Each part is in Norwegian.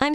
I'm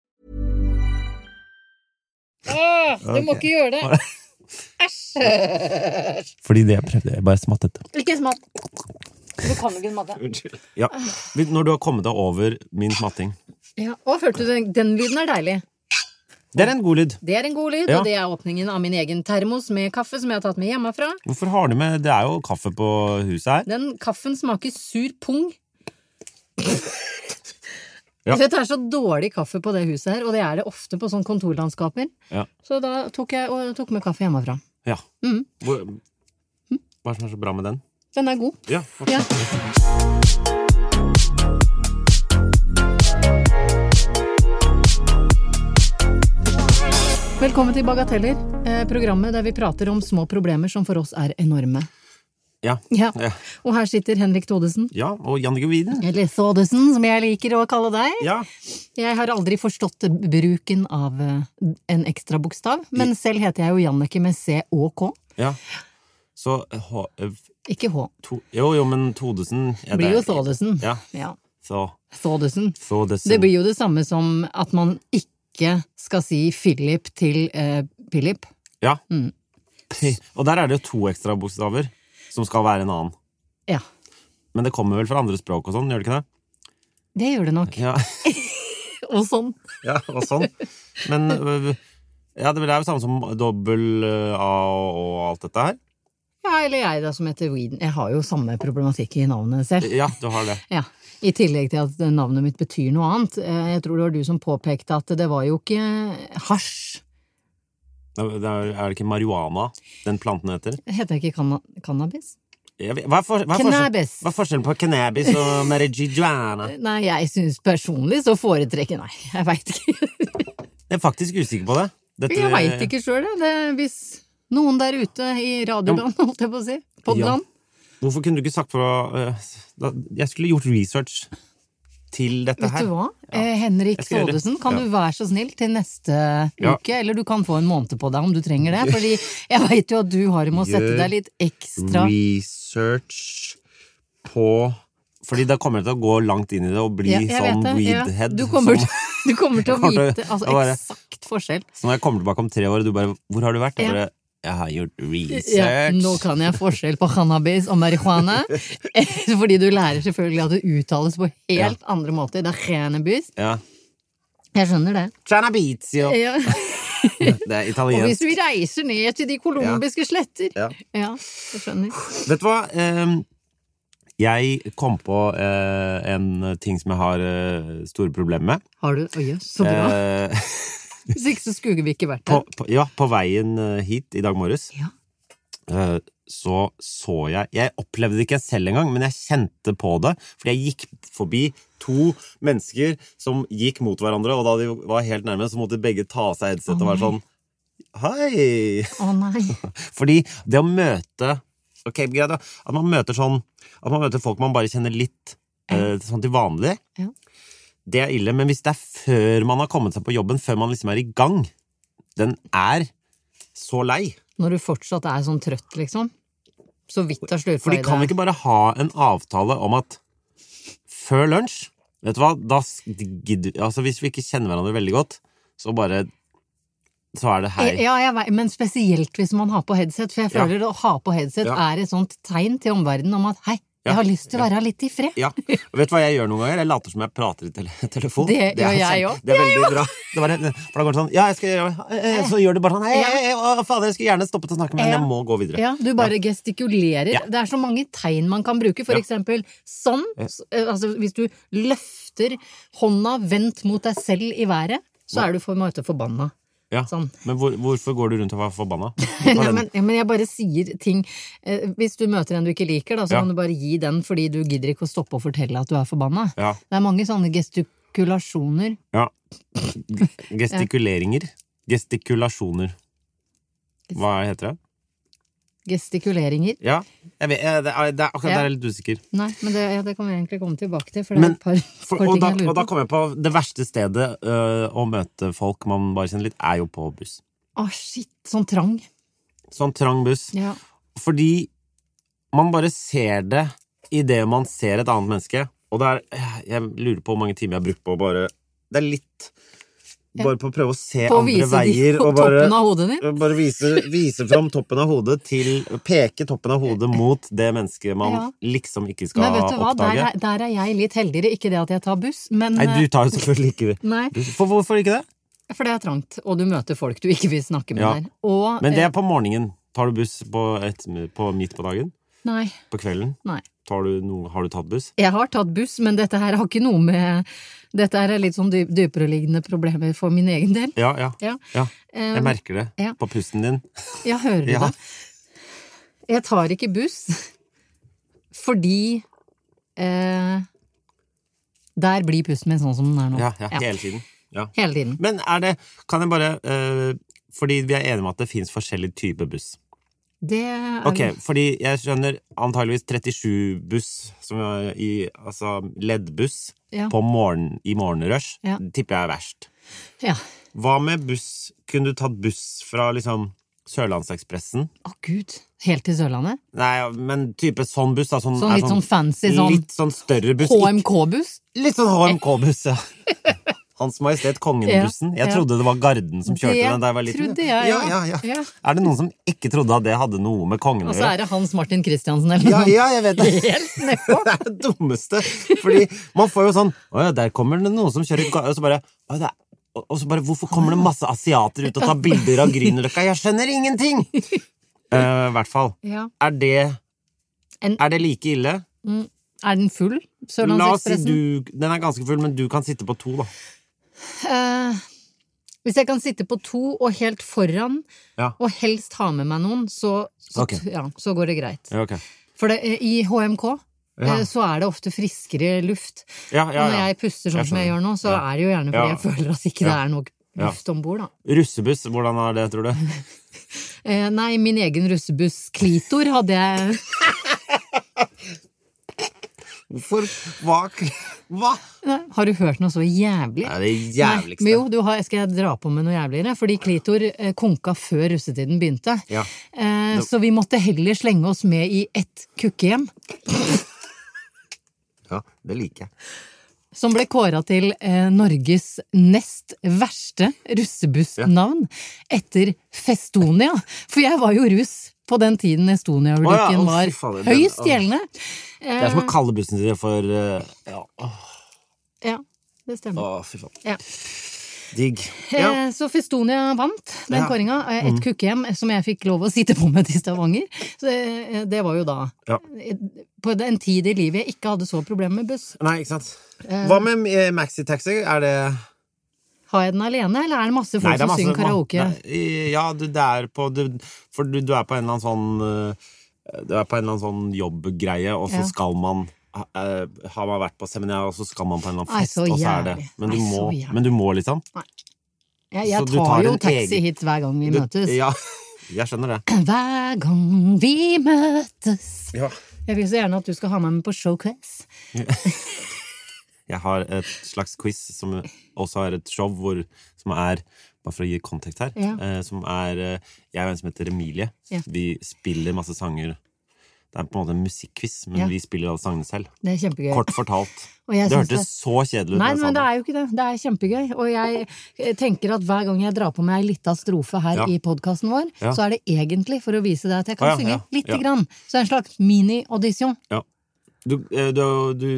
Åh, du må Ok. ikke gjøre det! Æsj! Fordi det jeg prøvde, jeg bare smattet. Ikke smatt. Du kan jo ikke smatte. Unnskyld. Ja. Men Når du har kommet deg over min smatting. Ja, og følte du den, den lyden er deilig. Det er en god lyd. Det er en god lyd, Ja. og det er åpningen av min egen termos med kaffe som jeg har tatt med hjemmefra. Hvorfor har du med Det er jo kaffe på huset her. Den kaffen smaker sur pung. Ja. For det er så dårlig kaffe på det huset her, og det er det ofte på sånn kontorlandskaper. Ja. Så da tok jeg og tok med kaffe hjemmefra. Ja. Mm. Hvor, hva er det som er så bra med den? Den er god. Ja, Ja. Velkommen til Bagateller, eh, programmet der vi prater om små problemer som for oss er enorme. ja. Ja. Ja. Og her sitter Henrik Thodesen. ja og Jannicke Wieden. Eller Thodesen, som jeg liker å kalle deg. Ja. Jeg har aldri forstått bruken av eh, en ekstra bokstav, men selv heter jeg jo Jannicke med C og K, ja. Så H... ikke H. To, jo, jo, men Todesen ja, Blir jo det- Thodesen. Ja. Ja. Så, Thodesen. Thodesen. Det blir jo det samme som at man ikke skal si Philip til eh, Philip. Ja. Mm. Og der er det jo to ekstra bokstaver som skal være en annen. Ja, Men det kommer vel fra andre språk og sånn, gjør det ikke det? det gjør det nok. Ja, Og sånn. ja og sånn. Men øh, ja, det er jo samme som dobbel øh, A og alt dette her. Ja, eller jeg da som heter Whedon. Jeg har jo samme problematikk i navnet selv. Ja, du har det. Ja, I tillegg til at navnet mitt betyr noe annet. Eh, Jeg tror det var du som påpekte at det var jo ikke hasj. Det Er det er ikke marihuana den planten heter? Heter det ikke canna cannabis? Jeg vet- Hva er, for, hva er, forskjellen, Cannabis. hva er forskjellen på cannabis og marijuana? Nei, jeg syns personlig så foretrekker Nei, jeg veit ikke. Jeg er faktisk usikker på det. Dette- Jeg veit ikke sjøl, jeg. Det- Hvis noen der ute i radioland, holdt jeg på å si, podland, Hvorfor kunne du ikke sagt fra øh, da- Jeg skulle gjort research til dette Vet her. du hva? Eh, Henrik Jeg skal gjøre det. Thodesen, kan Ja. du være så snill til neste Ja. uke? Eller du kan få en måned på deg om du trenger det. Fordi jeg veit jo at du har med å sette Gjør deg litt ekstra Research på Fordi da kommer jeg til å gå langt inn i det og bli Ja, jeg vet sånn det, ja. weedhead. Du kommer, som, til- du kommer til å Kommer til- vite altså, det bare- eksakt forskjell. så når jeg kommer tilbake om tre år, og du bare 'Hvor har du vært?' Jeg Ja. bare 'Jeg har gjort Ja, research'. nå kan jeg forskjell på cannabis og marihuana. Fordi du lærer selvfølgelig at det uttales på helt andre måter. Det er cannabis. Ja. Jeg skjønner det. Cannabizio. Ja. Det er Og hvis italiensk. du reiser ned til de colombiske sletter Ja. Ja, jeg skjønner. Vet du hva? Ehm, Jeg kom på eh, en ting som jeg har eh, store problemer med. Har du Å jøss, så bra. Eh, Hvis ikke så skulle vi ikke vært på, her. på, ja, på veien eh, hit i dag morges Ja. eh, så så jeg Jeg opplevde det ikke selv engang, men jeg kjente på det. Fordi jeg gikk forbi to mennesker som gikk mot hverandre, og da de var helt nærme, så måtte begge ta av seg headsetet og være sånn Hei! Å nei. Fordi det å møte Ok, greit da. At man møter sånn At man møter folk man bare kjenner litt eh, sånn til vanlig, Ja. det er ille. Men hvis det er før man har kommet seg på jobben, før man liksom er i gang, den er så lei. Når du fortsatt er sånn trøtt, liksom. Så vidt har For slurpa de kan vi ikke bare ha en avtale om at før lunsj Vet du hva, da s- gidder Altså, hvis vi ikke kjenner hverandre veldig godt, så bare Så er det hei. Ja, jeg vet, men spesielt hvis man har på headset, for jeg Ja. føler det å ha på headset Ja. er et sånt tegn til omverdenen om at hei, jeg Ja. har lyst til å være litt i fred. Ja. Og vet du hva jeg gjør noen ganger? Jeg later som jeg prater i tele telefon. Det gjør er jeg kjempe- også. Det er veldig bra. Det var, en- for da går det sånn Ja, jeg skal gjøre eh, eh, Så gjør du bare sånn Hei, hei, hei, å, fader, jeg skulle gjerne stoppet å snakke, men Ja. jeg må gå videre. Ja, du bare gestikulerer. Ja. Det er så mange tegn man kan bruke, for Ja. eksempel sånn. s- eh, Altså hvis du løfter hånda vendt mot deg selv i været, så er du for mye forbanna. Ja. Sånn. Men hvor, hvorfor går du rundt og er forbanna? Nei, men, ja, men jeg bare sier ting eh, Hvis du møter en du ikke liker, da, så Ja. kan du bare gi den fordi du gidder ikke å stoppe og fortelle at du er forbanna. Ja. Det er mange sånne gestu Gestikulasjoner. Ja. Gestikuleringer. Gestikulasjoner. Hva er det heter det? Gestikuleringer. Ja, jeg vet, jeg, det er, det er akkurat Ja. der jeg er litt usikker. Nei, men det, ja, det kan vi egentlig komme tilbake til, for det er Men- et par, For, par og, ting da, jeg og da lurer på. kom jeg på det verste stedet øh, å møte folk man bare kjenner litt, er jo på buss. Å, shit. Sånn trang. Sånn trang buss. Ja. Fordi man bare ser det idet man ser et annet menneske. Og det er eh, Jeg lurer på hvor mange timer jeg har brukt på å bare Det er litt Bare på å prøve å se På å andre vise de veier på og bare eh, toppen av hodet ditt. bare vise, vise fram toppen av hodet til Peke toppen av hodet mot det mennesket man Ja. liksom ikke skal Men vet du hva, der oppdage. er, der er jeg litt heldigere. Ikke det at jeg tar buss, men eh, Nei, du tar jo selvfølgelig ikke det. Nei, Du- For hvorfor ikke det? for det er trangt, og du møter folk du ikke vil snakke med Ja. der. Og Men det eh, er på morgenen. Tar du buss på, et, på midt på dagen? Nei. På kvelden? nei. Tar du noe, har du tatt buss? Jeg har tatt buss, men dette her har ikke noe med Dette her er litt sånn dyp, dypereliggende problemer for min egen del. Ja, ja. Ja. ja. Eh, Jeg merker det ja. på pusten din. Ja, hører du Ja. det? Jeg tar ikke buss fordi eh, Der blir pusten min sånn som den er nå. Ja, ja, Ja. hele tiden. Ja. Hele tiden. Men er det Kan jeg bare eh, Fordi vi er enige om at det fins forskjellig type buss. Det er Ok, fordi jeg skjønner antageligvis 37-buss, som er i altså leddbuss, Ja. på morgen, i morgenrush, Ja. tipper jeg er verst. Ja. Hva med buss? Kunne du tatt buss fra liksom Sørlandsekspressen? Å, gud. Helt til Sørlandet? Nei, men type sånn buss, da. Sånn, Sånn er litt sånn fancy, sånn- Litt sånn større buss. Ikke- HMK-buss? Litt sånn HMK-buss, ja. Hans Majestet Kongen-bussen. Ja, Jeg ja. trodde det var Garden som kjørte Det den da jeg var liten. trodde jeg, ja. Ja, ja, ja. Ja. Er det noen som ikke trodde at det hadde noe med kongen Og å så gjøre? er det Hans Martin Christiansen eller Ja, noe ja, jeg vet det. Helt nedpå. Det er det dummeste. Fordi man får jo sånn Å ja, der kommer det noen som kjører ga-» Og så bare «Å, det er og og så bare, Hvorfor kommer det masse asiater ut og tar bilder av Grünerløkka? Jeg skjønner ingenting! Eh, I hvert fall. Ja. Er det En- Er det like ille? Er den full? La oss si Sørlandsekspressen? du Den er ganske full, men du kan sitte på to, da. Eh, hvis jeg kan sitte på to og helt foran, Ja. og helst ha med meg noen, så, så, Ok. ja, så går det greit. Ja, ok. For det, eh, i HMK Ja. eh, så er det ofte friskere luft. Ja, ja, Og når ja. jeg puster sånn Jeg som jeg skjønner. gjør nå, så Ja. er det jo gjerne fordi Ja. jeg føler at ikke det Ja. er nok Ja. luft om bord, da. Russebuss, hvordan er det, tror du? Eh, nei, min egen russebuss Klitor hadde jeg Hvorfor Hva? Hva? Nei, Har du hørt noe så jævlig? Det er det Nei, men jævligste. jo, du har, skal jeg dra på med noe jævligere? Fordi Klitor eh, konka før russetiden begynte. Ja. Eh, så vi måtte heller slenge oss med i ett kukkehjem, Ja, det liker jeg. som ble kåra til eh, Norges nest verste russebussnavn, etter Festonia. For jeg var jo russ på den tiden Å ja, Estonia-ulykken å, fy faen, var den- høyst å. gjeldende. Det er som å Eh, kalle bussen sin for eh, ja. Å, ja, det stemmer. fy faen. Ja. Digg. Ja. Eh, Så Festonia vant den Ja. Mm. kåringa. Eh, Et kukkehjem som jeg fikk lov å sitte på med til Stavanger. Så eh, det var jo da Ja. eh, På en tid i livet jeg ikke hadde så problemer med buss. Nei, ikke sant. Hva med eh, maxitaxi? Er det Har jeg den alene, eller er det masse folk Nei, det er som synger masse- karaoke? Nei, eh, ja, du, det er på du, For du, du er på en eller annen sånn eh, Du er på en eller annen sånn jobbgreie, og så Ja. skal man eh, har man vært på seminar, og så skal man på en eller Nei, annen fest, så og så er det jævlig. Men du, Nei, må, så jævlig. men du må, liksom? Jeg, jeg så du tar, tar jo en taxi egen- hit hver gang vi Du, møtes. ja, jeg skjønner det. Hver gang vi møtes. Ja. Jeg vil så gjerne at du skal ha meg med på showquiz. Jeg har et slags quiz som også er et show hvor, som er Bare for å gi kontekst her. Ja. Eh, som er eh, Jeg og en som heter Emilie. Ja. Vi spiller masse sanger. Det er på en måte en musikkquiz, men Ja. vi spiller alle sangene selv. Det er kjempegøy. Kort fortalt. Og jeg det syns hørtes så kjedelig ut. Nei, når jeg sa men det er jo ikke det. Det er kjempegøy. Og jeg eh, tenker at hver gang jeg drar på meg ei lita strofe her Ja. i podkasten vår, Ja. så er det egentlig for å vise deg at jeg kan Å, ja, synge ja, lite ja. grann. Så det er en slags mini-audition. Ja. Du, eh, du, du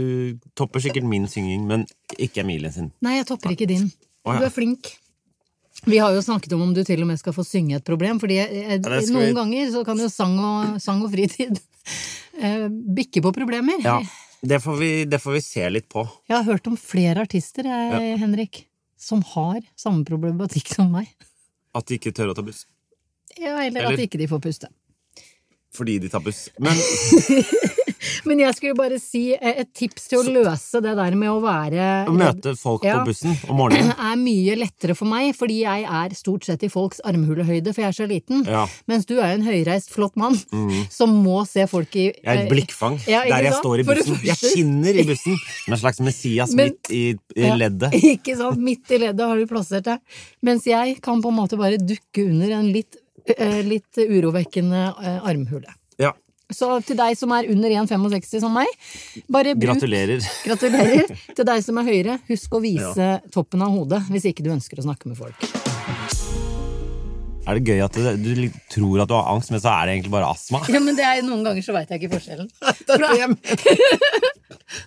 topper sikkert min synging, men ikke Emilie sin. Nei, jeg topper ikke din. Å, ja. Du er flink. Vi har jo snakket om om du til og med skal få synge et problem, fordi jeg, jeg, Ja, det skal noen vi- ganger så kan jo sang og, sang og fritid eh, bikke på problemer. Ja, det får, vi, det får vi se litt på. Jeg har hørt om flere artister, jeg, Henrik, som har samme problematikk som meg. At de ikke tør å ta buss. Ja, eller, Eller- at ikke de får puste. Fordi de tar buss. Men Men jeg skulle bare si eh, et tips til å løse det der med å være Å møte folk Ja. på bussen om morgenen. er mye lettere for meg, fordi jeg er stort sett i folks armhulehøyde, for jeg er så liten. Ja. Mm. Mens du er jo en høyreist, flott mann som må se folk i eh, Jeg er et blikkfang Ja, ikke der jeg sant? står i For det bussen. Jeg første- skinner i bussen som en slags Messias Men- midt i, i Ja, leddet. Ikke sant? Midt i leddet har du plassert deg. Mens jeg kan på en måte bare dukke under en litt, eh, litt urovekkende eh, armhule. Ja. Så til deg som er under 1,65 som meg, bare bruk Gratulerer. Gratulerer. Til deg som er høyere, husk å vise toppen av hodet hvis ikke du ønsker å snakke med folk. Er det gøy at du, du tror at du har angst, men så er det egentlig bare astma? Ja, men det er Noen ganger så veit jeg ikke forskjellen. Det er det jeg mener.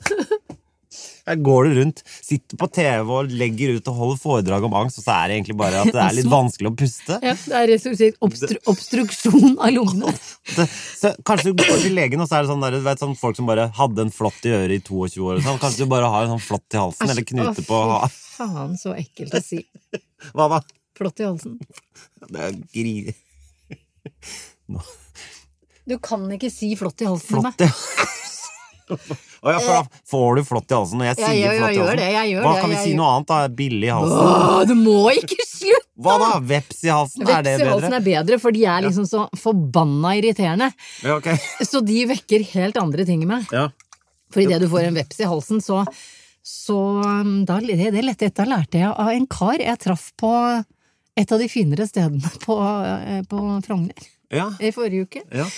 Her går du rundt, sitter på TV og legger ut og holder foredrag om angst, og så er det egentlig bare at det er litt vanskelig å puste. Ja, det er rett og slett obstru obstruksjon av lungene. Det- Så kanskje du går til legen, og så er det sånn der, du vet, sånn folk som bare hadde en flått i øret i 22 år. og Sånn. Kanskje du bare har en sånn flått i halsen, eller knute på Å, fy Faen, så ekkelt å si. Hva da? Flott i halsen. Det er gri... Du kan ikke si flott i halsen til Flått meg. i Å ja, for da får du flått i halsen når jeg Eh. Ja, sier jeg- jeg flått i gjør halsen. det, jeg gjør Hva det, kan vi jeg si gjør- noe annet, da? Billig i halsen? Åh, du må ikke slutte! Hva da? Veps i halsen? Er Veps det i halsen bedre? er bedre, for de er liksom så forbanna irriterende. Ja, ok. Så de vekker helt andre ting i meg. Ja. For idet du får en veps i halsen, så, så um, da, det, det lette, Dette lærte jeg av en kar jeg traff på et av de finere stedene på, eh, på Frogner Ja. i forrige uke. Ja.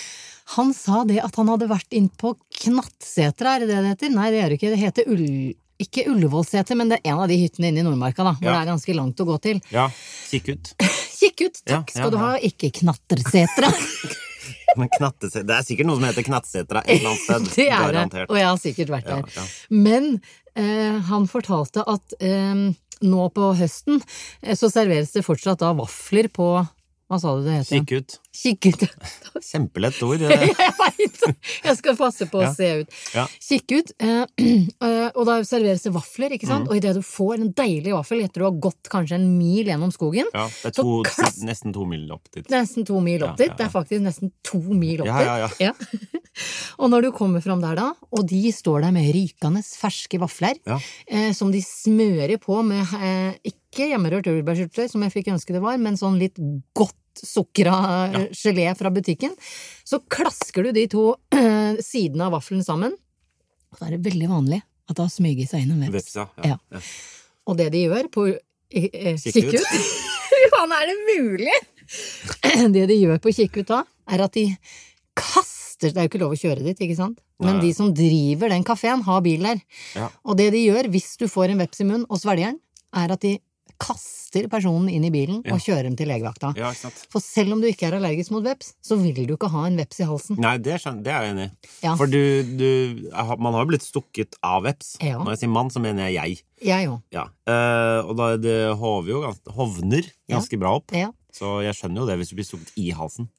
Han sa det at han hadde vært inn på Knattsetra, er det det det heter? Nei, det er det ikke. Det heter Ull... Ikke Ullevålseter, men det er en av de hyttene inne i Nordmarka, da, hvor Ja. det er ganske langt å gå til. ja. Kikk ut. Kikk ut! Ja, Takk ja, skal du ja. ha. Ikke Knattersetra. Men knattese- Det er sikkert noe som heter Knatsetra et eller annet sted. Det er det, Garantert. og jeg har sikkert vært Ja, der. ja. Men eh, han fortalte at eh, nå på høsten eh, så serveres det fortsatt da vafler på Hva sa du det het? igjen? Kikk ut. Kikkut. Kjempelett ord. det. Jeg veit! Jeg skal passe på å Ja. se ut. Ja. Kikkut. Eh, eh, og da serveres det vafler, ikke Mm. sant? Og idet du får en deilig vaffel etter du har gått kanskje en mil gjennom skogen Ja, det er Så to, kast- nesten to mil opp dit. Nesten to mil opp Ja, ja, dit. Det er ja. faktisk nesten to mil opp Ja, ja, dit. Ja. og når du kommer fram der da, og de står der med rykende ferske vafler, Ja. eh, som de smører på med eh, ikke hjemmerørt jordbærsyltetøy, som jeg fikk ønske det var, men sånn litt godt sukra eh, gelé fra butikken, så klasker du de to eh, sidene av vaffelen sammen. Og da er det veldig vanlig at det har smyget seg inn en veps. Veps, ja. Ja. ja. ja. Og det de gjør på eh, eh, Kikk Kikk ut. ut Faen, er det mulig?! det de gjør på Kikk ut da, er at de kaster Det er jo ikke lov å kjøre dit, ikke sant? Men Nei. de som driver den kafeen, har bil der. Ja. Og det de gjør hvis du får en veps i munnen og svelger den, er at de kaster personen inn i bilen og kjører dem til legevakta. ja ikke sant? For selv om du ikke er allergisk mot veps, så vil du ikke ha en veps i halsen. Nei, det, skjønner, det er jeg enig i. Ja. For du, du jeg har- Man har jo blitt stukket av veps. Ja. Når jeg sier mann, så mener jeg jeg. Jeg òg. Ja. Eh, og da er det hover jo gans- hovner ganske bra opp. Ja. Så jeg skjønner jo det hvis du blir stukket i halsen.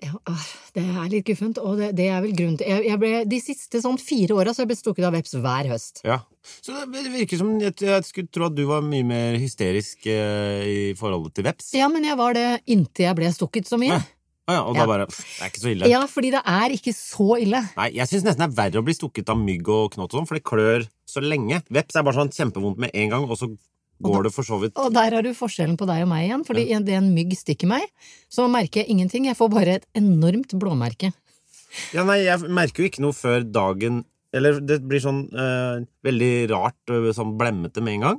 Ja, øh, det er litt guffent, og det, det er vel grunnen til jeg, jeg ble, De siste sånn fire åra har jeg blitt stukket av veps hver høst. Ja. Så det virker som jeg, jeg skulle tro at du var mye mer hysterisk eh, i forholdet til veps. Ja, men jeg var det inntil jeg ble stukket så mye. Ja. Ah, ja, og da Ja. bare pff, Det er ikke så ille. Ja, fordi det er ikke så ille. Nei, Jeg syns nesten det er verre å bli stukket av mygg og knott, og sånn, for det klør så lenge. Veps er bare sånn kjempevondt med en gang, og så går det for så vidt Og der har du forskjellen på deg og meg igjen, fordi idet en mygg stikker meg, så merker jeg ingenting. Jeg får bare et enormt blåmerke. Ja, nei, jeg merker jo ikke noe før dagen Eller det blir sånn eh, veldig rart og sånn blemmete med en gang.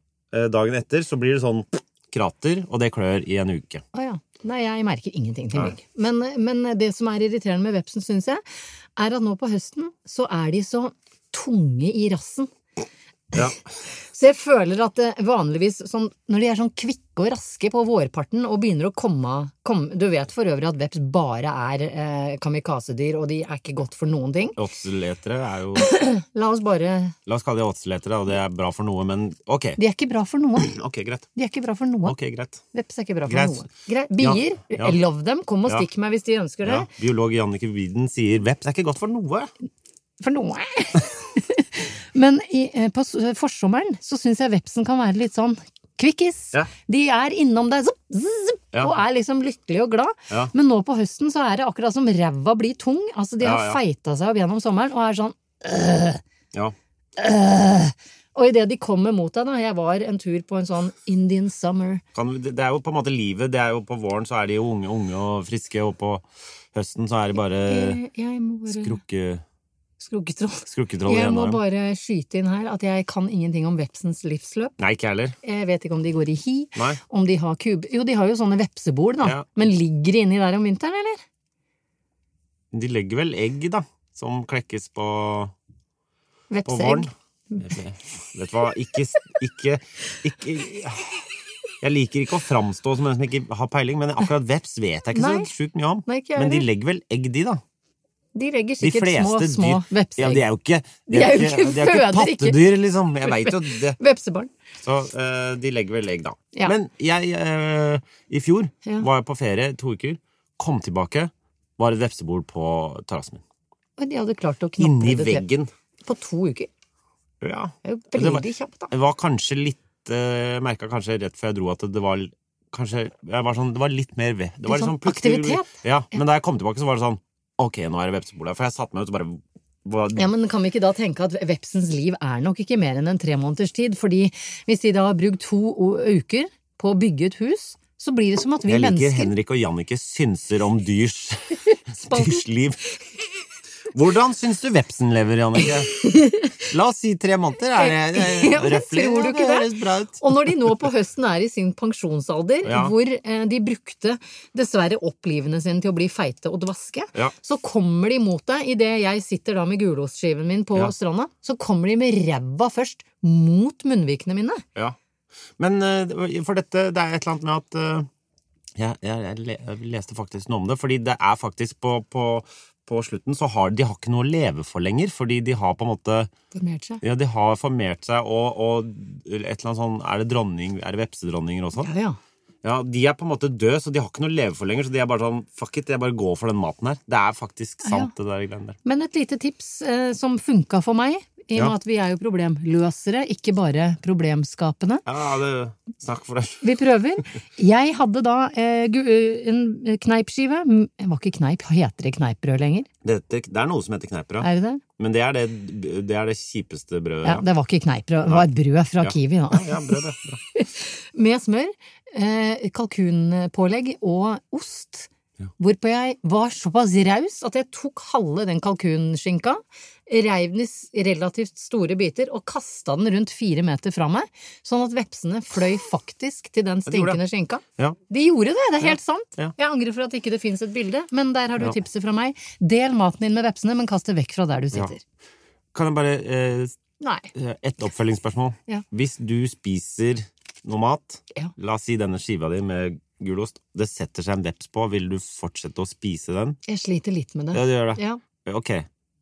eh, dagen etter, så blir det sånn krater, og det klør i en uke. Å ja. Nei, jeg merker ingenting til mygg. Men, men det som er irriterende med vepsen, syns jeg, er at nå på høsten så er de så tunge i rassen. Ja. Så jeg føler at eh, vanligvis sånn, når de er sånn kvikke og raske på vårparten og begynner å komme, komme Du vet for øvrig at veps bare er eh, kamikazedyr, og de er ikke godt for noen ting. Åtseletere er jo La oss bare La oss kalle de åtseletere, og det er bra for noe, men ok. De er ikke bra for noe. Ok, greit. De er ikke bra for noe. Ok, greit. Veps er ikke bra for Greit. noe. Grei- Ja, Bier, ja. love them. Kom og Ja. stikk meg hvis de ønsker det. Ja. Biolog Jannicke Wieden sier veps er ikke godt for noe. For noe. Men i, eh, på s- forsommeren så syns jeg vepsen kan være litt sånn kvikkis. Ja. De er innom deg zopp, zopp, Ja. og er liksom lykkelige og glad. Ja. Men nå på høsten så er det akkurat som ræva blir tung. Altså De Ja, har ja. feita seg opp gjennom sommeren og er sånn Ja. Og idet de kommer mot deg, da Jeg var en tur på en sånn Indian summer. Kan, det det er jo på en måte livet. det er jo På våren så er de jo unge, unge og friske, og på høsten så er de bare Eh, jeg må bare skrukke, Skrukketroll. skrukketroll Jeg igjen. må av dem. bare skyte inn her at jeg kan ingenting om vepsens livsløp. Nei, ikke jeg heller. Jeg vet ikke om de går i hi, Nei. om de har kub... Jo, de har jo sånne vepsebol, da. Ja. Men ligger de inni der om vinteren, eller? De legger vel egg, da, som klekkes på, på våren. Vepseegg. Vet du- vet du hva, ikke, ikke, ikke Jeg liker ikke å framstå som en som ikke har peiling, men akkurat veps vet jeg ikke Nei. så sjukt mye om. Nei, ikke jeg men de heller. legger vel egg, de, da? De legger De sikkert små, fleste små dyr Ja, vepseegg. de er jo ikke De, De er er jo jo ikke, ikke- de er jo ikke føder ikke. pattedyr, liksom. Jeg veit jo det. Vepsebarn. Så eh, de legger vel egg, da. Ja. Men jeg eh, i fjor Ja. var jeg på ferie to uker, kom tilbake, var et vepsebol på terrassen min. Og de hadde klart å knapre Inni det til. veggen. På to uker. Ja. Det er jo Det var- veldig kjapt, da. Jeg var kanskje litt uh, Merka kanskje rett før jeg dro at det var l- Kanskje jeg var sånn, Det var litt mer ved. Det var Litt liksom sånn plutselig- aktivitet. Ja, men da jeg kom tilbake, så var det sånn Ok, nå er det vepsebol her. For jeg satte meg ut og bare hva, Ja, men Kan vi ikke da tenke at vepsens liv er nok ikke mer enn en tre måneders tid? Fordi hvis de da har brukt to o- uker på å bygge et hus, så blir det som at vi Jeg liker mennesker Henrik og Jannicke synser om dyrs, Spalten. dyrs liv. Hvordan syns du vepsen lever, Jannicke? La oss si tre måneder. Er det, Ja, er men det røffelig? tror du Ja, ikke det? høres bra ut. Og når de nå på høsten er i sin pensjonsalder, Ja. hvor eh, de brukte dessverre opplivene sine til å bli feite og dvaske, Ja. så kommer de mot deg idet jeg sitter da med gulostskiven min på Ja. stranda, så kommer de med ræva først mot munnvikene mine. Ja. Men eh, for dette, det er et eller annet med at eh, jeg, jeg, jeg, le, jeg leste faktisk noe om det, fordi det er faktisk på, på, på slutten så har de har ikke noe å leve for lenger, fordi de har på en måte Formert seg. Ja, de har formert seg, og, og et eller annet sånn Er det dronning, er det vepsedronninger også? Ja, ja. Ja, De er på en måte døde, så de har ikke noe å leve for lenger. Så de er bare sånn Fuck it, jeg bare går for den maten her. Det er faktisk sant, det der greiene der. Men et lite tips eh, som funka for meg, i og Ja. med at vi er jo problemløsere, ikke bare problemskapende. Ja, det, snakk for deg. Vi prøver. Jeg hadde da eh, gu- eh, en kneipskive. Mm, Det var ikke kneip, heter det kneippbrød lenger? Dette, det er noe som heter kneiper, ja. Er det det? Men det er det, det, er det kjipeste brødet. Ja, det var ikke kneippbrød, det var et brød fra Ja. Kiwi. Da. Ja, brød, ja. Bra. Med smør, eh, kalkunpålegg og ost. Hvorpå jeg var såpass raus at jeg tok halve den kalkunskinka, reiv den i s- relativt store biter og kasta den rundt fire meter fra meg, sånn at vepsene fløy faktisk til den de gjorde stinkende skinka. Ja. De gjorde det, det er helt sant. ja. Jeg angrer for at ikke det fins et bilde, men der har du Ja. tipset fra meg. Del maten din med vepsene, men kast det vekk fra der du Ja. sitter. Kan jeg bare eh, Nei. Et oppfølgingsspørsmål. Ja. Hvis du spiser noe mat, Ja. la oss si denne skiva di med gulost, det setter seg en veps på, vil du fortsette å spise den? Jeg sliter litt med det. Ja, det gjør det. Ja. Ok.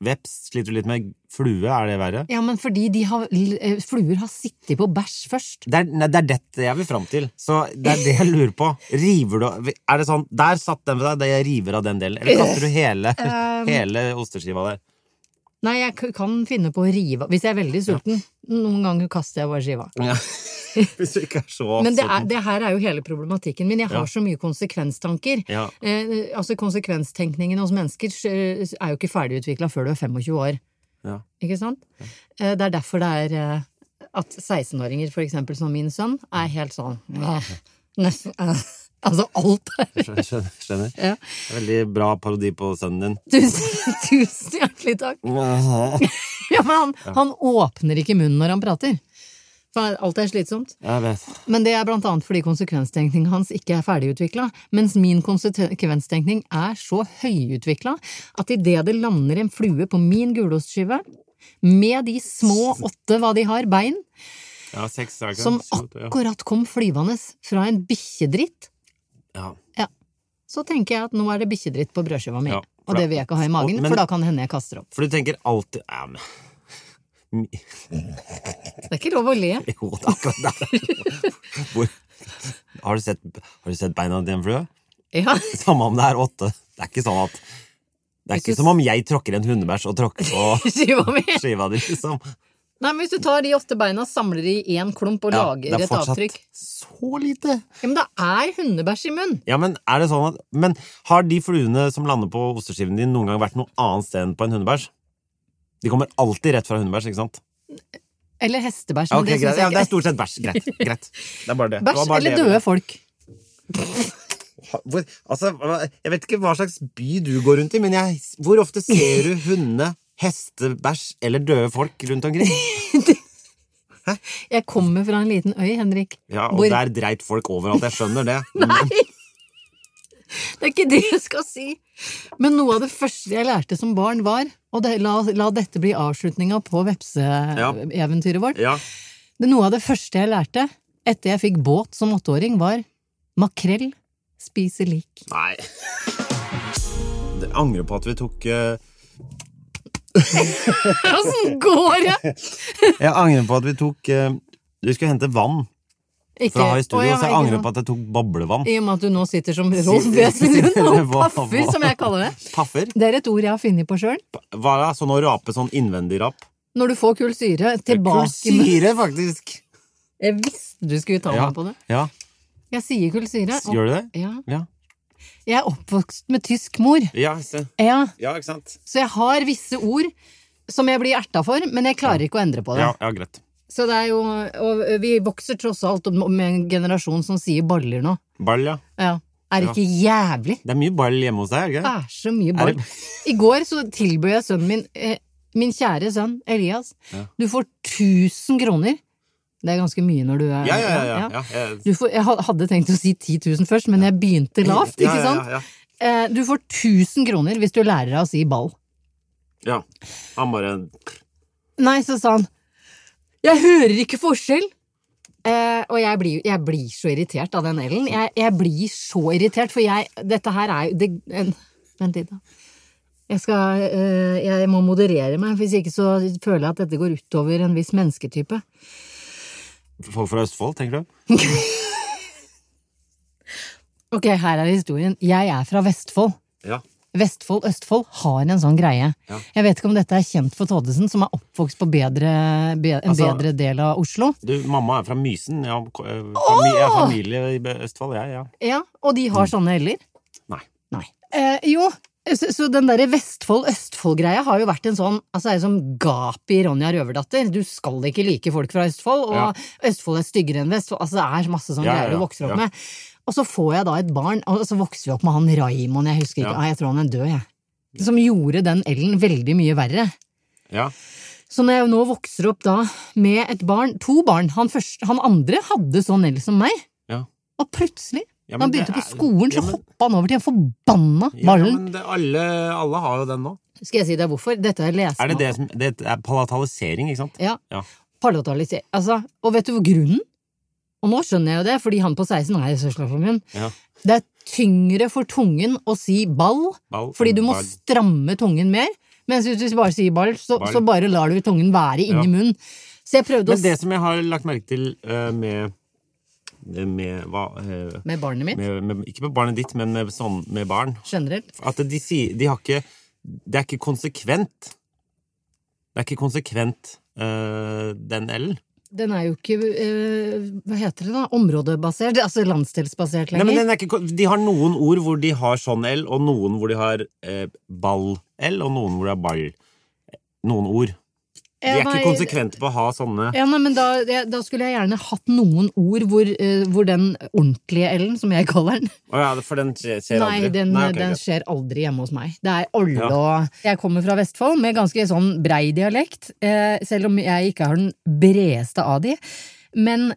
Veps sliter du litt med. Flue, er det verre? Ja, men fordi de har, l- eh, fluer har sittet på bæsj først. Det er, nei, det er dette jeg vil fram til. Så det er det jeg lurer på. River du Er det sånn Der satt den ved deg, det jeg river av den delen. Eller kaster du hele, Um. hele osteskiva der? Nei, jeg k- kan finne på å rive av- Hvis jeg er veldig sulten. Noen ganger kaster jeg bare skiva. Ja. Hvis du ikke er så Men det, er, sulten. det her er jo hele problematikken min. Jeg har Ja. så mye konsekvenstanker. Ja. Eh, altså Konsekvenstenkningen hos mennesker eh, er jo ikke ferdigutvikla før du er 25 år. Ja. Ikke sant? Eh, det er derfor det er eh, at 16-åringer, for eksempel som min sønn, er helt sånn eh, nesten, eh, Altså alt her. Skjønner. skjønner. Ja. Det er Veldig bra parodi på sønnen din. Tusen, tusen hjertelig takk. Jeg Ja, men han, han åpner ikke munnen når han prater. For alt er slitsomt. vet. Men det er blant annet fordi konsekvenstenkningen hans ikke er ferdigutvikla, mens min konsekvenstenkning er så høyutvikla at idet det lander en flue på min gulostskive, med de små åtte hva de har, bein, Ja, seks er ikke som Sju, ja. akkurat kom flyvende fra en bikkjedritt, Ja. så tenker jeg at nå er det bikkjedritt på brødskiva mi. Ja, og det vil jeg ikke ha i magen, Og- men- for da kan det hende jeg kaster opp. For du tenker alltid ja, men, Det er ikke lov å le. Jo, det er akkurat der. Hvor, har, du sett, har du sett beina til en flue? Ja. Samme om det er åtte. Det er ikke sånn at Det er Hvis du ikke som om jeg tråkker en hundebæsj og tråkker på Skiva mi. skiva di, liksom. Nei, men Hvis du tar de åtte beina, samler de i én klump og Ja, lager et avtrykk så lite. ja, Men det er hundebæsj i munnen! Ja, Men er det sånn at Men har de fluene som lander på osteskiven din, noen gang vært noe annet sted enn på en hundebæsj? De kommer alltid rett fra hundebæsj, ikke sant? Eller hestebæsj. Ja, men ok, det, synes greit. jeg Ja, det er ikke- stort sett bæsj. Greit. greit. Det er bare det. Det var Bæsj bare eller det. døde folk. Hvor, altså, hva- jeg vet ikke hva slags by du går rundt i, men jeg, hvor ofte ser du hunde, hestebæsj eller døde folk rundt omkring? Jeg kommer fra en liten øy, Henrik. Ja, og hvor... der dreit folk overalt. Jeg skjønner det. Nei! Det er ikke det jeg skal si. Men noe av det første jeg lærte som barn, var Og det, la, la dette bli avslutninga på vepseeventyret vårt. Ja. Det, noe av det første jeg lærte etter jeg fikk båt som åtteåring, var makrell spiser lik. Nei. Jeg angrer på at vi tok eh, Åssen går det?! Jeg angrer på at vi tok eh, Du skulle hente vann Ikke, fra ha i studio, Å, ja, så jeg ikke angrer sant. på at jeg tok boblevann. I og med at du nå sitter som Rolf Wesenlund og Hva- paffer, hva- som jeg kaller det. Paffer? Det er et ord jeg har funnet på sjøl. Hva er det? Sånn å rape sånn innvendig rap? Når du får kulsyre tilbake med Kulsyre, faktisk. Jeg visste du skulle ta Ja. meg på det. ja. Jeg sier kulsyre. og- Gjør du det? Ja. Ja. Jeg er oppvokst med tysk mor, Ja, se. ja, ja ikke sant? så jeg har visse ord som jeg blir erta for, men jeg klarer ikke å endre på det. Ja, ja greit. Så det er jo Og vi vokser tross alt om- med en generasjon som sier baller nå. Ball, ja. Ja. Er det ikke jævlig? Det er mye ball hjemme hos deg, er det ikke? Det er så mye ball. I går så tilbød jeg sønnen min, eh, min kjære sønn Elias, du får 1000 kroner. Det er ganske mye når du er Ja, ja, ja. ja, ja. jeg- Du får, jeg ha- hadde tenkt å si 10 000 først, men jeg begynte lavt, Ja, ikke sant? Ja, ja, Eh, Du får 1000 kroner hvis du lærer deg å si ball. ja. ja. Han bare Nei, så sa han, jeg hører ikke forskjell. Eh, og jeg blir, jeg blir så irritert av den L-en. Jeg, jeg blir så irritert, for jeg Dette her er jo det, en, Vent litt, da. Jeg, skal, eh, jeg må moderere meg, hvis ikke så føler jeg at dette går utover en viss mennesketype. Folk fra Østfold, tenker du? Ok, her er historien. Jeg er fra Vestfold. Ja. Vestfold, Østfold har en sånn greie. Jeg vet ikke om dette er kjent for Toddesen, som er oppvokst på bedre, be, en Altså- bedre del av Oslo. Du, mamma er fra Mysen. Jeg har, ko- eh, fami jeg har familie i Be- Østfold, jeg. Ja. Ja, og de har sånne heller. Mm. Nei. Nei. Eh, jo, så, så den derre Vestfold-Østfold-greia har jo vært en sånn Altså, det er jo som gap i Ronja Røverdatter. Du skal ikke like folk fra Østfold, og Ja. Østfold er styggere enn Vestfold. Altså, det er masse sånne Ja, ja, greier ja. du vokser opp Ja. med. Og så får jeg da et barn, og så vokser vi opp med han Raimond, jeg husker ikke, Ja. Nei, jeg tror han er død, jeg. Som gjorde den L-en veldig mye verre. ja. Så når jeg nå vokser opp da med et barn, to barn, han, første, han andre hadde sånn L som meg, Ja. og plutselig, da Ja, men han begynte det på er- skolen, ja, så men- hoppa han over til den forbanna Ja, ballen. men det, alle, alle har jo den nå. Skal jeg si deg hvorfor? Dette har jeg lest Er meg det det opp. som Det er palatalisering, ikke sant? Ja. Ja. Palatalisering. Altså, og vet du hvor grunnen? Og nå skjønner jeg jo det, fordi han på 16 er søskenflokken min. Ja. Det er tyngre for tungen å si ball, Ball, fordi du må ball. stramme tungen mer. Mens hvis du bare sier ball, så, Ball. så bare lar du tungen være inni Ja. munnen. Så jeg prøvde Men å det s- som jeg har lagt merke til eh, med det med, hva, eh, Med barnet mitt, med, med Ikke med barnet ditt, men med, sånn, med barn. generelt. At de sier De har ikke Det er ikke konsekvent. Det er ikke konsekvent, eh, den L-en. Den er jo ikke eh, Hva heter det, da? Områdebasert? Altså landsdelsbasert Nei, lenger? men den er ikke, kon- de har noen ord hvor de har sånn L, og noen hvor de har eh, ball-L, og noen hvor det er ball. Noen ord. De er Ja, ikke nei, konsekvente på å ha sånne Ja, nei, men da, jeg- da skulle jeg gjerne hatt noen ord hvor, eh, hvor den ordentlige Ellen, som jeg kaller den Å ja, for den skjer skjer Nei, aldri? den, ok, den greit. skjer aldri hjemme hos meg. Det er alle og Jeg kommer fra Vestfold med ganske sånn brei dialekt, eh, selv om jeg ikke har den bredeste av de. Men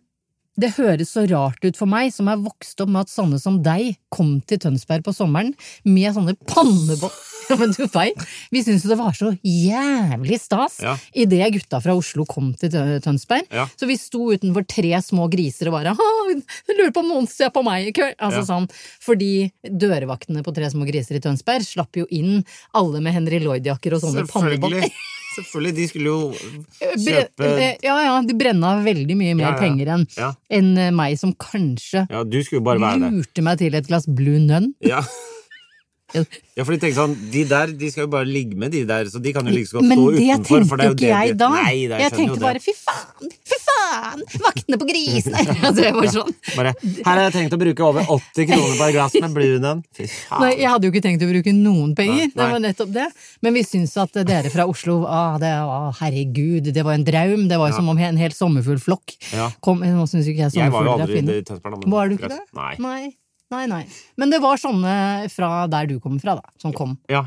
det høres så rart ut for meg, som er vokst opp med at sånne som deg kom til Tønsberg på sommeren med sånne pannebånd. Ja, men du veit, vi syntes jo det var så jævlig stas Ja. idet gutta fra Oslo kom til Tø- Tønsberg. Ja. Så vi sto utenfor tre små griser og bare «Ha, jeg lurer på om noen ser på meg i kveld. Altså sånn, fordi dørevaktene på Tre små griser i Tønsberg slapp jo inn alle med Henry Lloyd-jakker og sånne pannebånd. Selvfølgelig. Selvfølgelig. De skulle jo Bre- kjøpe eh, Ja, ja, de brenna veldig mye mer Ja, ja. penger enn Ja. enn, eh, meg, som kanskje Ja, du skulle jo bare være der. lurte meg til et glass Blue Nun. Ja. Ja, for de tenker sånn, de der de skal jo bare ligge med de der, så de kan jo like så godt Men stå det utenfor. tenkte For det er jo ikke det jeg de- da. Nei, da, jeg, jeg skjønner jo tenkte det. bare fy faen, fy faen, vaktene på grisene! altså, jeg var sånn. Bare, Her har jeg tenkt å bruke over 80 kroner på et glass med Blunen. Fy faen. Nei, jeg hadde jo ikke tenkt å bruke noen penger. Nei, nei. Det var nettopp det. Men vi syns at dere fra Oslo ah, det, ah, Herregud, det var en draum. Det var jo som om en hel sommerfugl flokk Ja. kom Nå syns jo ikke jeg Jeg var jo sommerfugler er aldri fine. i Tønsberg. da, men- Var du ikke det? greit. Nei. nei. Nei, nei. Men det var sånne fra der du kommer fra, da, som kom. Ja.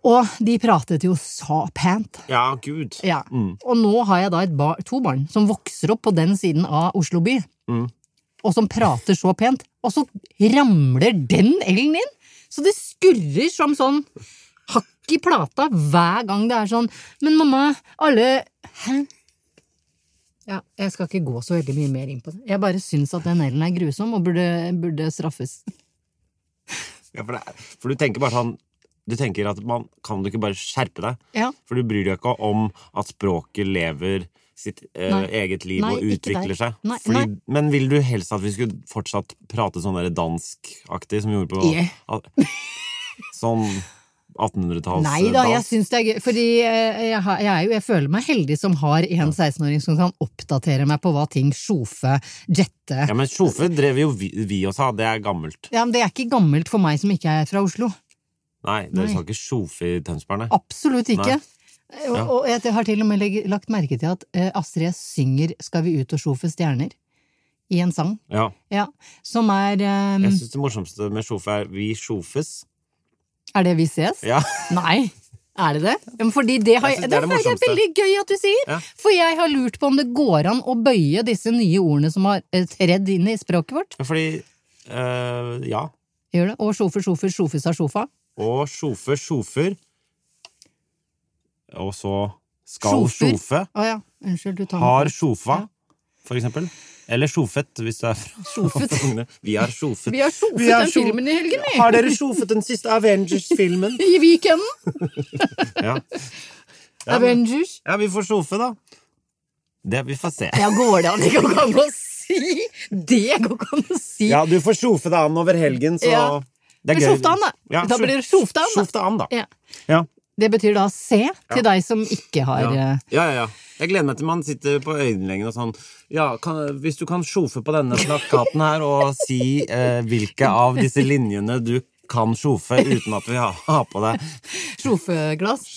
Og de pratet jo sa pent. ja, gud. Ja. Og nå har jeg da et bar, to barn som vokser opp på den siden av Oslo by, og som prater så pent, og så ramler den L-en inn! Så det skurrer som sånn hakk i plata hver gang det er sånn Men mamma, alle Hæ? Ja, jeg skal ikke gå så veldig mye mer inn på det. Jeg bare syns at den L-en er grusom og burde, burde straffes. Ja, for, det, er- for du tenker bare sånn Du tenker at man kan du ikke bare skjerpe deg? Ja. For du bryr deg ikke om at språket lever sitt eh, Nei. eget liv Nei, og ikke der. utvikler seg. Nei, Fordi, Men vil du helst at vi skulle fortsatt prate sånn der danskaktig som vi gjorde på Yeah. al- Sånn 1800-talls Nei da, Altså, dans? jeg syns det er gøy. Fordi eh, jeg, har, jeg, er jo, jeg føler meg heldig som har en 16-åring som kan oppdatere meg på hva ting sjofe, jette Ja, men Sjofe drev jo vi, vi også av. Det er gammelt. ja, men Det er ikke gammelt for meg som ikke er fra Oslo. Nei, dere sa ikke sjofe i Tønsberg, nei. Absolutt ikke. Og, og jeg har til og med legg- lagt merke til at eh, Astrid S synger 'Skal vi ut og sjofe stjerner' i en sang. Ja. Ja, Som er eh, Jeg syns det morsomste med sjofe er vi sjofes. Er det 'Vi ses'? Ja. Nei. Er det det? Ja, men fordi det, har Jeg jeg, synes det, det er er det det morsomste. veldig gøy at du sier! Ja. For jeg har lurt på om det går an å bøye disse nye ordene som har eh, tredd inn i språket vårt. Ja, Fordi eh, Ja. Gjør det? Og sjofer, sjofer, sjofis av sjofa. Og sjofer, sjofer. Og så skal Sjofer. sjofe. Å ja, unnskyld, du tar Har meg på- sjofa, for eksempel. Eller sjofet, hvis du er fra Sjofet. Vi har sjofet. Vi har sjofet Vi har den sjo- filmen i helgen, vi! Har dere sjofet den siste Avengers-filmen? I weekenden! ja. Avengers. ja, vi får sjofe, da. Det vi får se. Ja, går det an ikke å komme og si? Det går ikke an å si! Ja, du får sjofe deg an over helgen, så Ja. det Men sjofte an, da. Ja, Da sjo- blir det sjofte an, da. Sjofte an, da. Ja. Ja. Det betyr da se til deg som ikke har Ja. eh, ja, ja, ja. Jeg gleder meg til man sitter på øyelengen og sånn Ja, kan, hvis du kan sjofe på denne plakaten her og si eh, hvilke av disse linjene du kan sjofe uten at vi har, har på deg sjofeglass.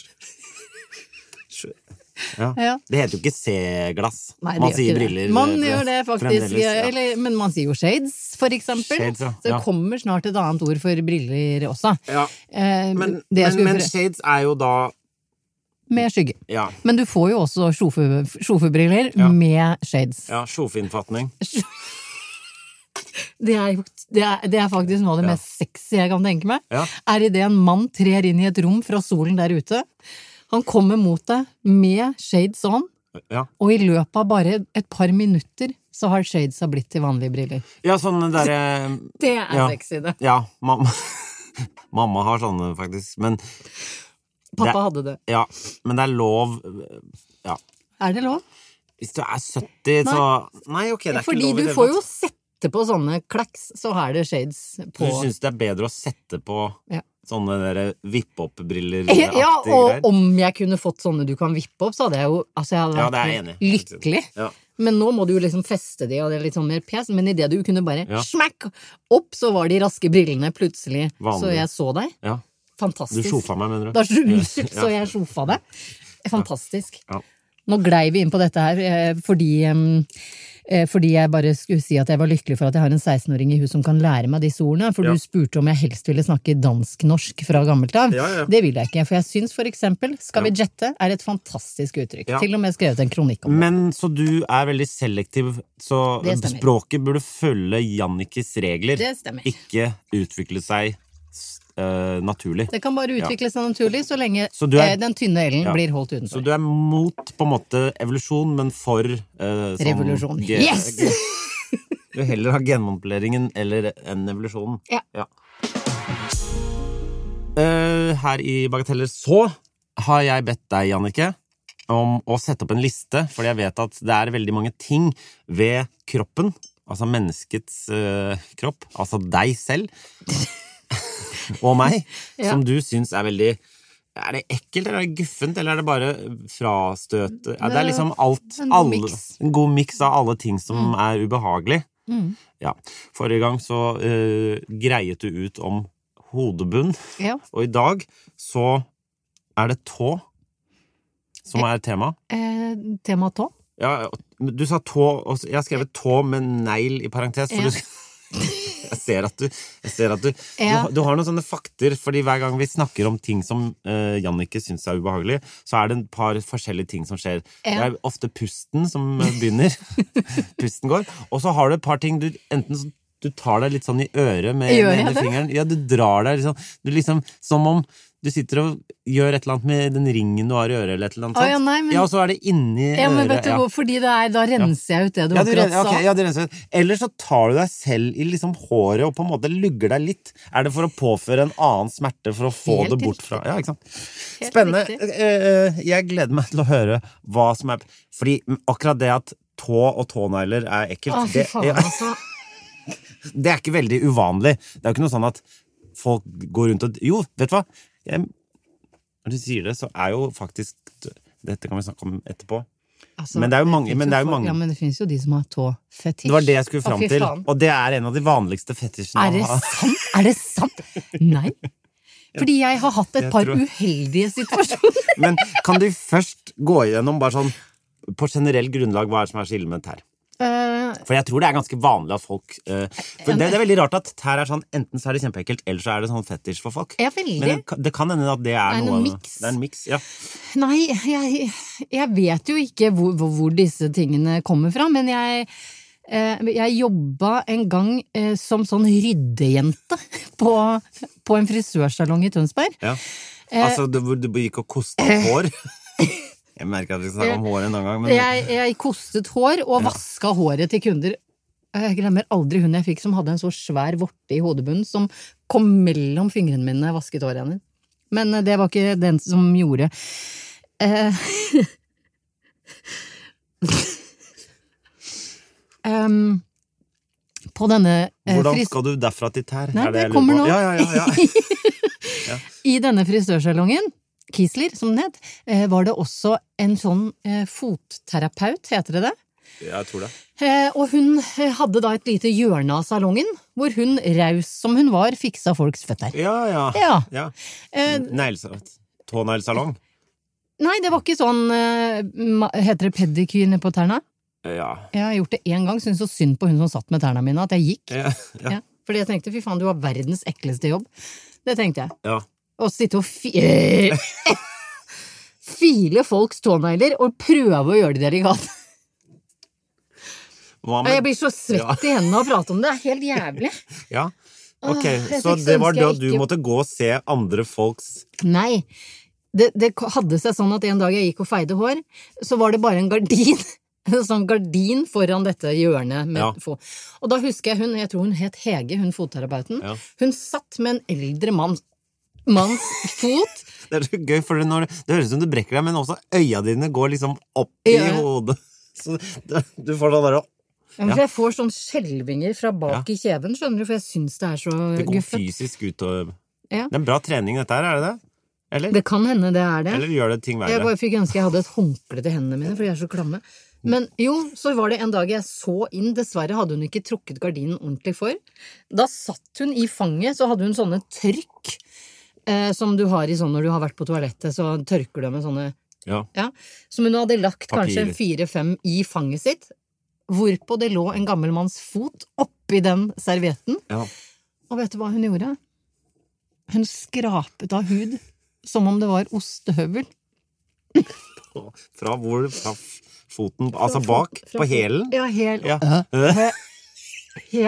ja. Ja. Det heter jo ikke C-glass. Nei, det Man gjør sier ikke det. briller. Man eh, gjør det faktisk. fremdeles, ja. Eller, men man sier jo shades, for eksempel. Shades, ja. Så det Ja. kommer snart et annet ord for briller også. Ja. Eh, Men, det jeg men, skulle men for- shades er jo da med skygge. Ja. Men du får jo også sjofe- sjofebriller med shades. ja sjofeinnfatning. Det er, jo- det, er, det er faktisk noe av det mest sexy jeg kan tenke meg. Ja. Er idet en mann trer inn i et rom fra solen der ute. Han kommer mot deg med shades on, Ja. og i løpet av bare et par minutter så har shadesa blitt til vanlige briller. ja, sånne derre Det er Ja. sexy, det. Ja, mamma Mamma har sånne, faktisk. Men Pappa Det- hadde det. ja, men det er lov eh, Ja. Er det lov? Hvis du er 70, så Nei, ok, det er Fordi ikke lov i du det hele får tatt. jo sette på sånne klacks, så er det shades på. Du syns det er bedre å sette på Ja. sånne derre vippe-opp-briller-aktige Eh, Ja, greier? og om jeg kunne fått sånne du kan vippe opp, så hadde jeg jo altså jeg hadde Ja, vært det er jeg enig i. lykkelig. Ja. Men nå må du jo liksom feste de, og det er litt sånn mer pes, men idet du kunne bare Ja. smakk opp, så var de raske brillene plutselig Vanlig. Så jeg så deg. Ja. Du Fantastisk. sjofa meg, mener du? Da, unnskyld, så jeg sjofa deg. Fantastisk. Ja. Nå glei vi inn på dette her eh, fordi, em, eh, fordi jeg bare skulle si at jeg var lykkelig for at jeg har en 16-åring i hus som kan lære meg disse ordene. For Ja. du spurte om jeg helst ville snakke dansk-norsk fra gammelt av. Ja, ja, ja. Det vil jeg ikke, for jeg syns for eksempel 'skal vi jette' er et fantastisk uttrykk. Ja. Til og med skrevet en kronikk om det. Men så du er veldig selektiv, så Det stemmer. språket burde følge Jannikes regler. Det stemmer. Ikke utvikle seg s- eh, naturlig. Det kan bare utvikle seg naturlig så lenge Så du er- eh, den tynne ellen Ja. blir holdt Så utenfor. du er mot på en måte evolusjon, men for eh, sånn Revolusjon. ge- Yes! ge- Du vil heller ha genmanipuleringen eller enn evolusjonen. Ja. Eh, her i Bagateller så har jeg bedt deg, Jannicke, om å sette opp en liste, fordi jeg vet at det er veldig mange ting ved kroppen, altså menneskets eh, kropp, altså deg selv og meg, Ja. som du syns er veldig er det ekkelt, eller er det guffent, eller er det bare frastøt? Ja, det er liksom alt. En god alle- miks. Mm. En god miks av alle ting som er ubehagelig. Ja. Forrige gang så eh, greiet du ut om hodebunn, Ja. og i dag så er det tå som er tema. Eh, tema tå. Ja, men du sa tå, og så- jeg har skrevet tå med negl i parentes, for Ja. du jeg ser at du, jeg ser at du, Ja. du, du har noen sånne fakter, fordi hver gang vi snakker om ting som uh, Jannicke syns er ubehagelig, så er det et par forskjellige ting som skjer. Det Ja. er ofte pusten som eh, begynner. pusten går. Og så har du et par ting du enten så, du tar deg litt sånn i øret med Gjør den jeg ene det? fingeren. Ja, du drar deg liksom, du liksom Som om du sitter og gjør et eller annet med den ringen du har i øret, eller et eller annet Å, sånt. ja, nei, men- ja, og så er det inni Ja, men øret. vet du ja. hvor, fordi det er, da renser jeg ut det du Ja, du akkurat sånn. renner, sa. ok, ja, du renser ut. Eller så tar du deg selv i liksom håret og på en måte lugger deg litt. Er det for å påføre en annen smerte for å få Helt det bort riktig. fra ja, ikke sant? Spennende. riktig. Eh, eh, Jeg gleder meg til å høre hva som er Fordi akkurat det at tå og tånegler er ekkelt, Å, fy det, faen, ja, altså. det er ikke veldig uvanlig. Det er jo ikke noe sånn at folk går rundt og Jo, vet du hva? Jeg, når du sier det, så er jo faktisk Dette kan vi snakke om etterpå. Altså, Men det er jo mange- finnes men det er jo folk- mange. Ja, men det finnes jo de som har tåfetisj. Det var det jeg skulle Å, fram fy til. faen. Og det er en av de vanligste fetisjene Er det å ha. sant? Er det sant? Nei. Fordi jeg har hatt et Jeg par tror- uheldige situasjoner. Men kan du først gå igjennom bare sånn på generell grunnlag hva er det som er så ille med tær? Eh, For jeg tror det er ganske vanlig at folk eh, For det, det er veldig rart at tær er sånn enten så er det kjempeekkelt, eller så er det sånn fetisj for folk. Ja, veldig. Men det, kan- det kan hende at det er, Det er noe noe av det. mix. Det er en miks. Ja. Nei, jeg, jeg vet jo ikke hvor, hvor, hvor disse tingene kommer fra, men jeg, eh, jeg jobba en gang eh, som sånn ryddejente på, på en frisørsalong i Tønsberg. ja. Eh. Altså du, hvor du gikk og kosta hår. Jeg merker at vi skal snakke om hår en annen gang, men Jeg, jeg kostet hår og vaska håret til kunder. Jeg glemmer aldri hun jeg fikk som hadde en så svær vorte i hodebunnen som kom mellom fingrene mine når jeg vasket håret hennes. Men eh, det var ikke den som gjorde eh. Em, På denne eh, hvordan fris- skal du derfra til tær? Nei, Er det jeg lurer kommer på? nå. Ja, ja, ja, ja. I denne frisørsalongen, Kiesler som den het, eh, var det også en sånn eh, fotterapeut, heter det det? Jeg tror det. Eh, Og hun eh, hadde da et lite hjørne av salongen, hvor hun, raus som hun var, fiksa folks føtter. Ja, ja. Ja. ja. Eh, Neglesalong. Tåneglesalong. Nei, det var ikke sånn eh, ma- Heter det pedikyr nede på tærne? Ja. Jeg har gjort det én gang, syntes så synd på hun som satt med tærne mine, at jeg gikk. Ja. ja. Ja. Fordi jeg tenkte fy faen, du har verdens ekleste jobb. Det tenkte jeg. ja. Å sitte og fi... File folks tånegler og prøve å gjøre det delikate. Hva Og med- Jeg blir så Ja. svett i hendene av å prate om det. Det er helt jævlig. Ja. Ok, jeg Så fikk det var ønske da jeg du ikke- måtte gå og se andre folks Nei. Det, det hadde seg sånn at en dag jeg gikk og feide hår, så var det bare en gardin. En sånn gardin foran dette hjørnet. Med Ja. fo- Og da husker jeg hun, jeg tror hun het Hege, hun fotterapeuten. Ja. Hun satt med en eldre mann, manns fot. Det er så gøy, for det, når, det høres ut som du brekker deg, men også øya dine går liksom opp i Ja. hodet. Så det- du får sånn derre Ja, men Jeg får sånn skjelvinger fra bak i kjeven, skjønner du, for jeg syns det er så Det går guffent. fysisk ut og Mm, Ja. Det er en bra trening, dette her, er det det? Eller, Det kan hende det er det. eller gjør det ting Jeg verre? bare fikk ønske jeg hadde et håndkle til hendene mine, for de er så klamme. Men jo, så var det en dag jeg så inn, dessverre hadde hun ikke trukket gardinen ordentlig for. Da satt hun i fanget, så hadde hun sånne trykk eh, som du har i sånn når du har vært på toalettet, så tørker du av med sånne Ja. Ja, som hun hadde lagt kanskje Papirer. fire-fem i fanget sitt, hvorpå det lå en gammel manns fot oppi den servietten. Ja. Og vet du hva hun gjorde? Hun skrapet av hud som om det var ostehøvel. Fra hvor? Fra f- foten Altså bak? Fra På fot- hælen? Ja, hæl. Ja. Hæl,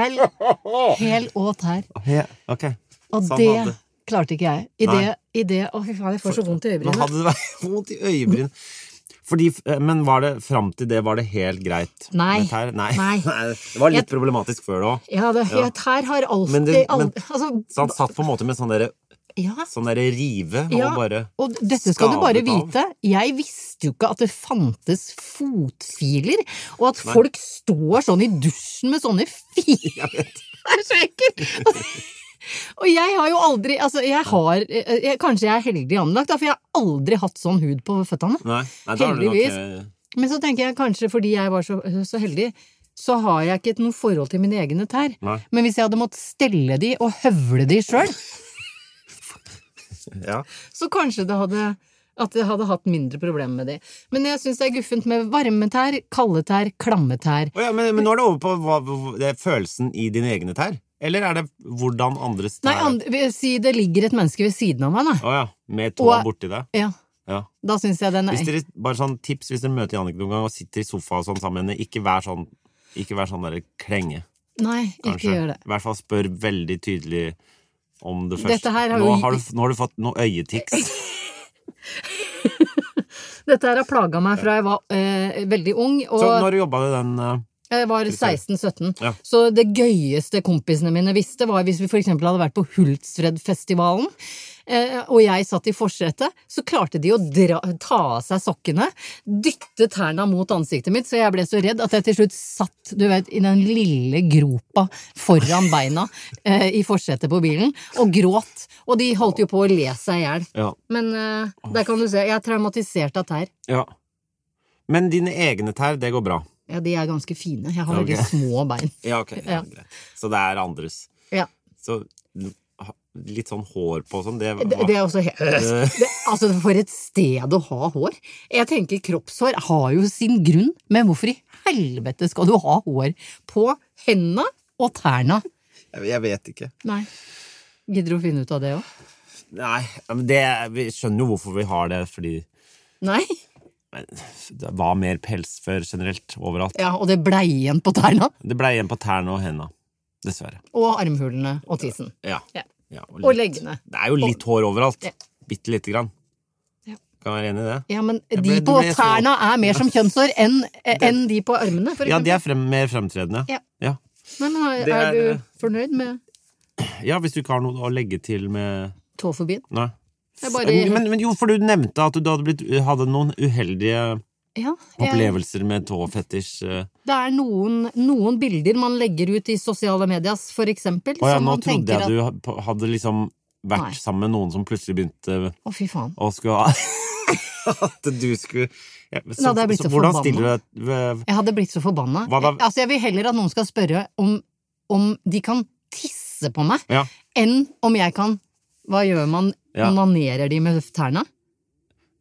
hæl og tær. He- Ok. Og Sånn det hadde- klarte ikke jeg. I det, Nei. i det Å, fy faen, jeg får så vondt i Men øyebrynene. hadde det vært vondt i øyebryn Fordi, eh, Men var det fram til det var det helt greit? Nei. Med tær? Nei. Nei. Det var litt Jeg- problematisk før det òg. Ja, det, Ja. tær har alltid Men det- men- aldri, altså, Så han satt på en måte med sånn derre ja. sånn derre rive Ja, og bare Og dette skal du bare skadet av. vite. Jeg visste jo ikke at det fantes fotfiler, og at folk står sånn i dusjen med sånne filer. Jeg vet. Det er så ekkelt! Og jeg har jo aldri altså jeg har, eh, jeg, Kanskje jeg er heldig anlagt, da, for jeg har aldri hatt sånn hud på føttene. Nei, nei da har du nok Heldigvis. eh, Men så tenker jeg kanskje fordi jeg var så, så heldig, så har jeg ikke noe forhold til mine egne tær. Nei. Men hvis jeg hadde måttet stelle de og høvle de sjøl, Ja. så kanskje det hadde at jeg hadde hatt mindre problemer med det. Men jeg syns det er guffent med varme tær, kalde tær, klamme tær. Å ja, men, men nå er det over på hva, hva- det er følelsen i dine egne tær? Eller er det hvordan andres tær Nei, andre, vil jeg si det ligger et menneske ved siden av meg, da. Å ja. Med tåa Og- borti deg? Ja, Ja. da syns jeg den Hvis er dere, bare sånn tips hvis dere møter Jannicke noen gang og sitter i sofa og sånn sammen med henne, ikke vær sånn, ikke vær sånn der klenge. Nei, ikke Kanskje. gjør det. I hvert fall spør veldig tydelig om det første. Dette her har nå, jo- har du, nå har du fått noe øyetiks. Dette her har plaga meg fra jeg var eh, veldig ung. Og... Så når du jobba i den eh, Jeg var 16-17. Ja. Så det gøyeste kompisene mine visste, var hvis vi f.eks. hadde vært på Hultsfredfestivalen, eh, og jeg satt i forsetet, så klarte de å dra, ta av seg sokkene, dytte tærne mot ansiktet mitt, så jeg ble så redd at jeg til slutt satt du vet, i den lille gropa foran beina eh, i forsetet på bilen, og gråt. Og de holdt jo på å le seg i hjel. Ja. Men eh, der kan du se, jeg er traumatisert av tær. ja. Men dine egne tær, det går bra. Ja, de er ganske fine. Jeg har Ja, veldig ok. små bein. Ja, ok. Ja, Ja. greit. Så det er andres. Ja. Så ha- litt sånn hår på og sånn, det var Det, det er også helt Eh. det, Altså, for et sted å ha hår. Jeg tenker kroppshår har jo sin grunn, men hvorfor i helvete skal du ha hår på henda og tærne? Jeg- Jeg vet ikke. Nei. Gidder du å finne ut av det òg? Nei, men det, vi skjønner jo hvorfor vi har det, fordi Nei. men, det var mer pels før generelt, overalt. Ja, og det blei igjen på tærne. Det ble igjen på tærne og henda, dessverre. Og armhulene og tissen. Ja. Ja. Ja, Og litt- leggene. Det er jo litt hår overalt. Ja. Bitte lite grann. Ja. Kan være enig i det? Ja, men ble- de det på ble så- tærne er mer som kjønnshår enn eh, enn de på armene, for Ja, de er eksempel. frem, mer fremtredende. Ja. Ja. Nei, men er, det er- er du fornøyd med Ja, hvis du ikke har noe å legge til med tåfobien? Nei. Jeg bare- Men, men jo, for du nevnte at du hadde, blitt, hadde noen uheldige Ja. jeg- opplevelser med tåfetisj. eh. Det er noen, noen bilder man legger ut i sosiale medias, for eksempel. Å ja, som nå man trodde tenker jeg du ha- hadde liksom vært Nei. sammen med noen som plutselig begynte Å, fy faen. og skulle ha At du skulle ja, Da hadde jeg blitt så Hvordan forbanna. stiller du deg Jeg hadde blitt så forbanna. Hva da? Altså, jeg vil heller at noen skal spørre om, om de kan tisse på meg, Ja. enn om jeg kan Hva gjør man? Ja. Onanerer de med tærne?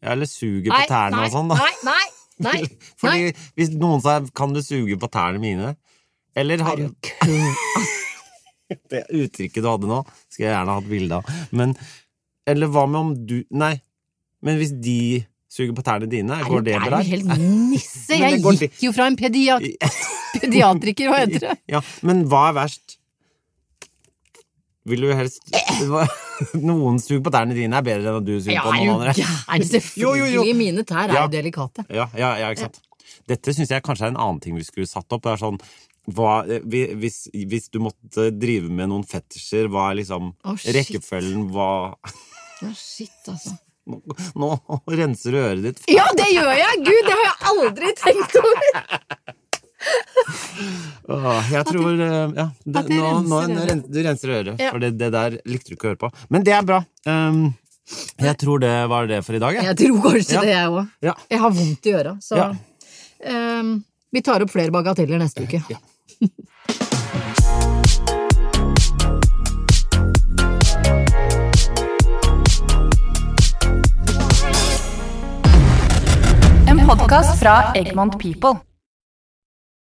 Ja, Eller suger på tærne nei, og sånn, da. nei, nei, nei, nei. Fordi hvis noen sa 'kan du suge på tærne mine', eller har, Er du kø- det uttrykket du hadde nå, skulle jeg gjerne hatt bilde av, men Eller hva med om du Nei, men hvis de suger på tærne dine, Er går du- det er bra? du helt nisse? Men Jeg det går gikk jo fra en pedia pediatriker, hva heter det? Ja, men hva er verst? Vil du helst hva- Noen suger på tærne dine er bedre enn at du suger Ja, på er noen du andre. gæren? Jo, jo, jo. Selvfølgelig. Mine tær er Ja. jo delikate. Ja, ja, ja ikke sant. Dette syns jeg kanskje er en annen ting vi skulle satt opp. Det er sånn hva, eh, vi- hvis, hvis du måtte drive med noen fetisjer, hva er liksom Å, shit. rekkefølgen? Hva Å, shit, altså. nå, nå renser du øret ditt. Ja, det gjør jeg! Gud, det har jeg aldri tenkt over! Åh, jeg tror eh, Ja, det, at jeg nå, nå, renser øret. ren- du renser øret. Ja. For det, det der likte du ikke å høre på. Men det er bra. Um, jeg tror det var det for i dag, jeg. Jeg tror kanskje Ja. det, jeg òg. Ja. Jeg har vondt i øra, så Ja. ehm, Vi tar opp flere bagateller neste uke. podkast fra Egmont People.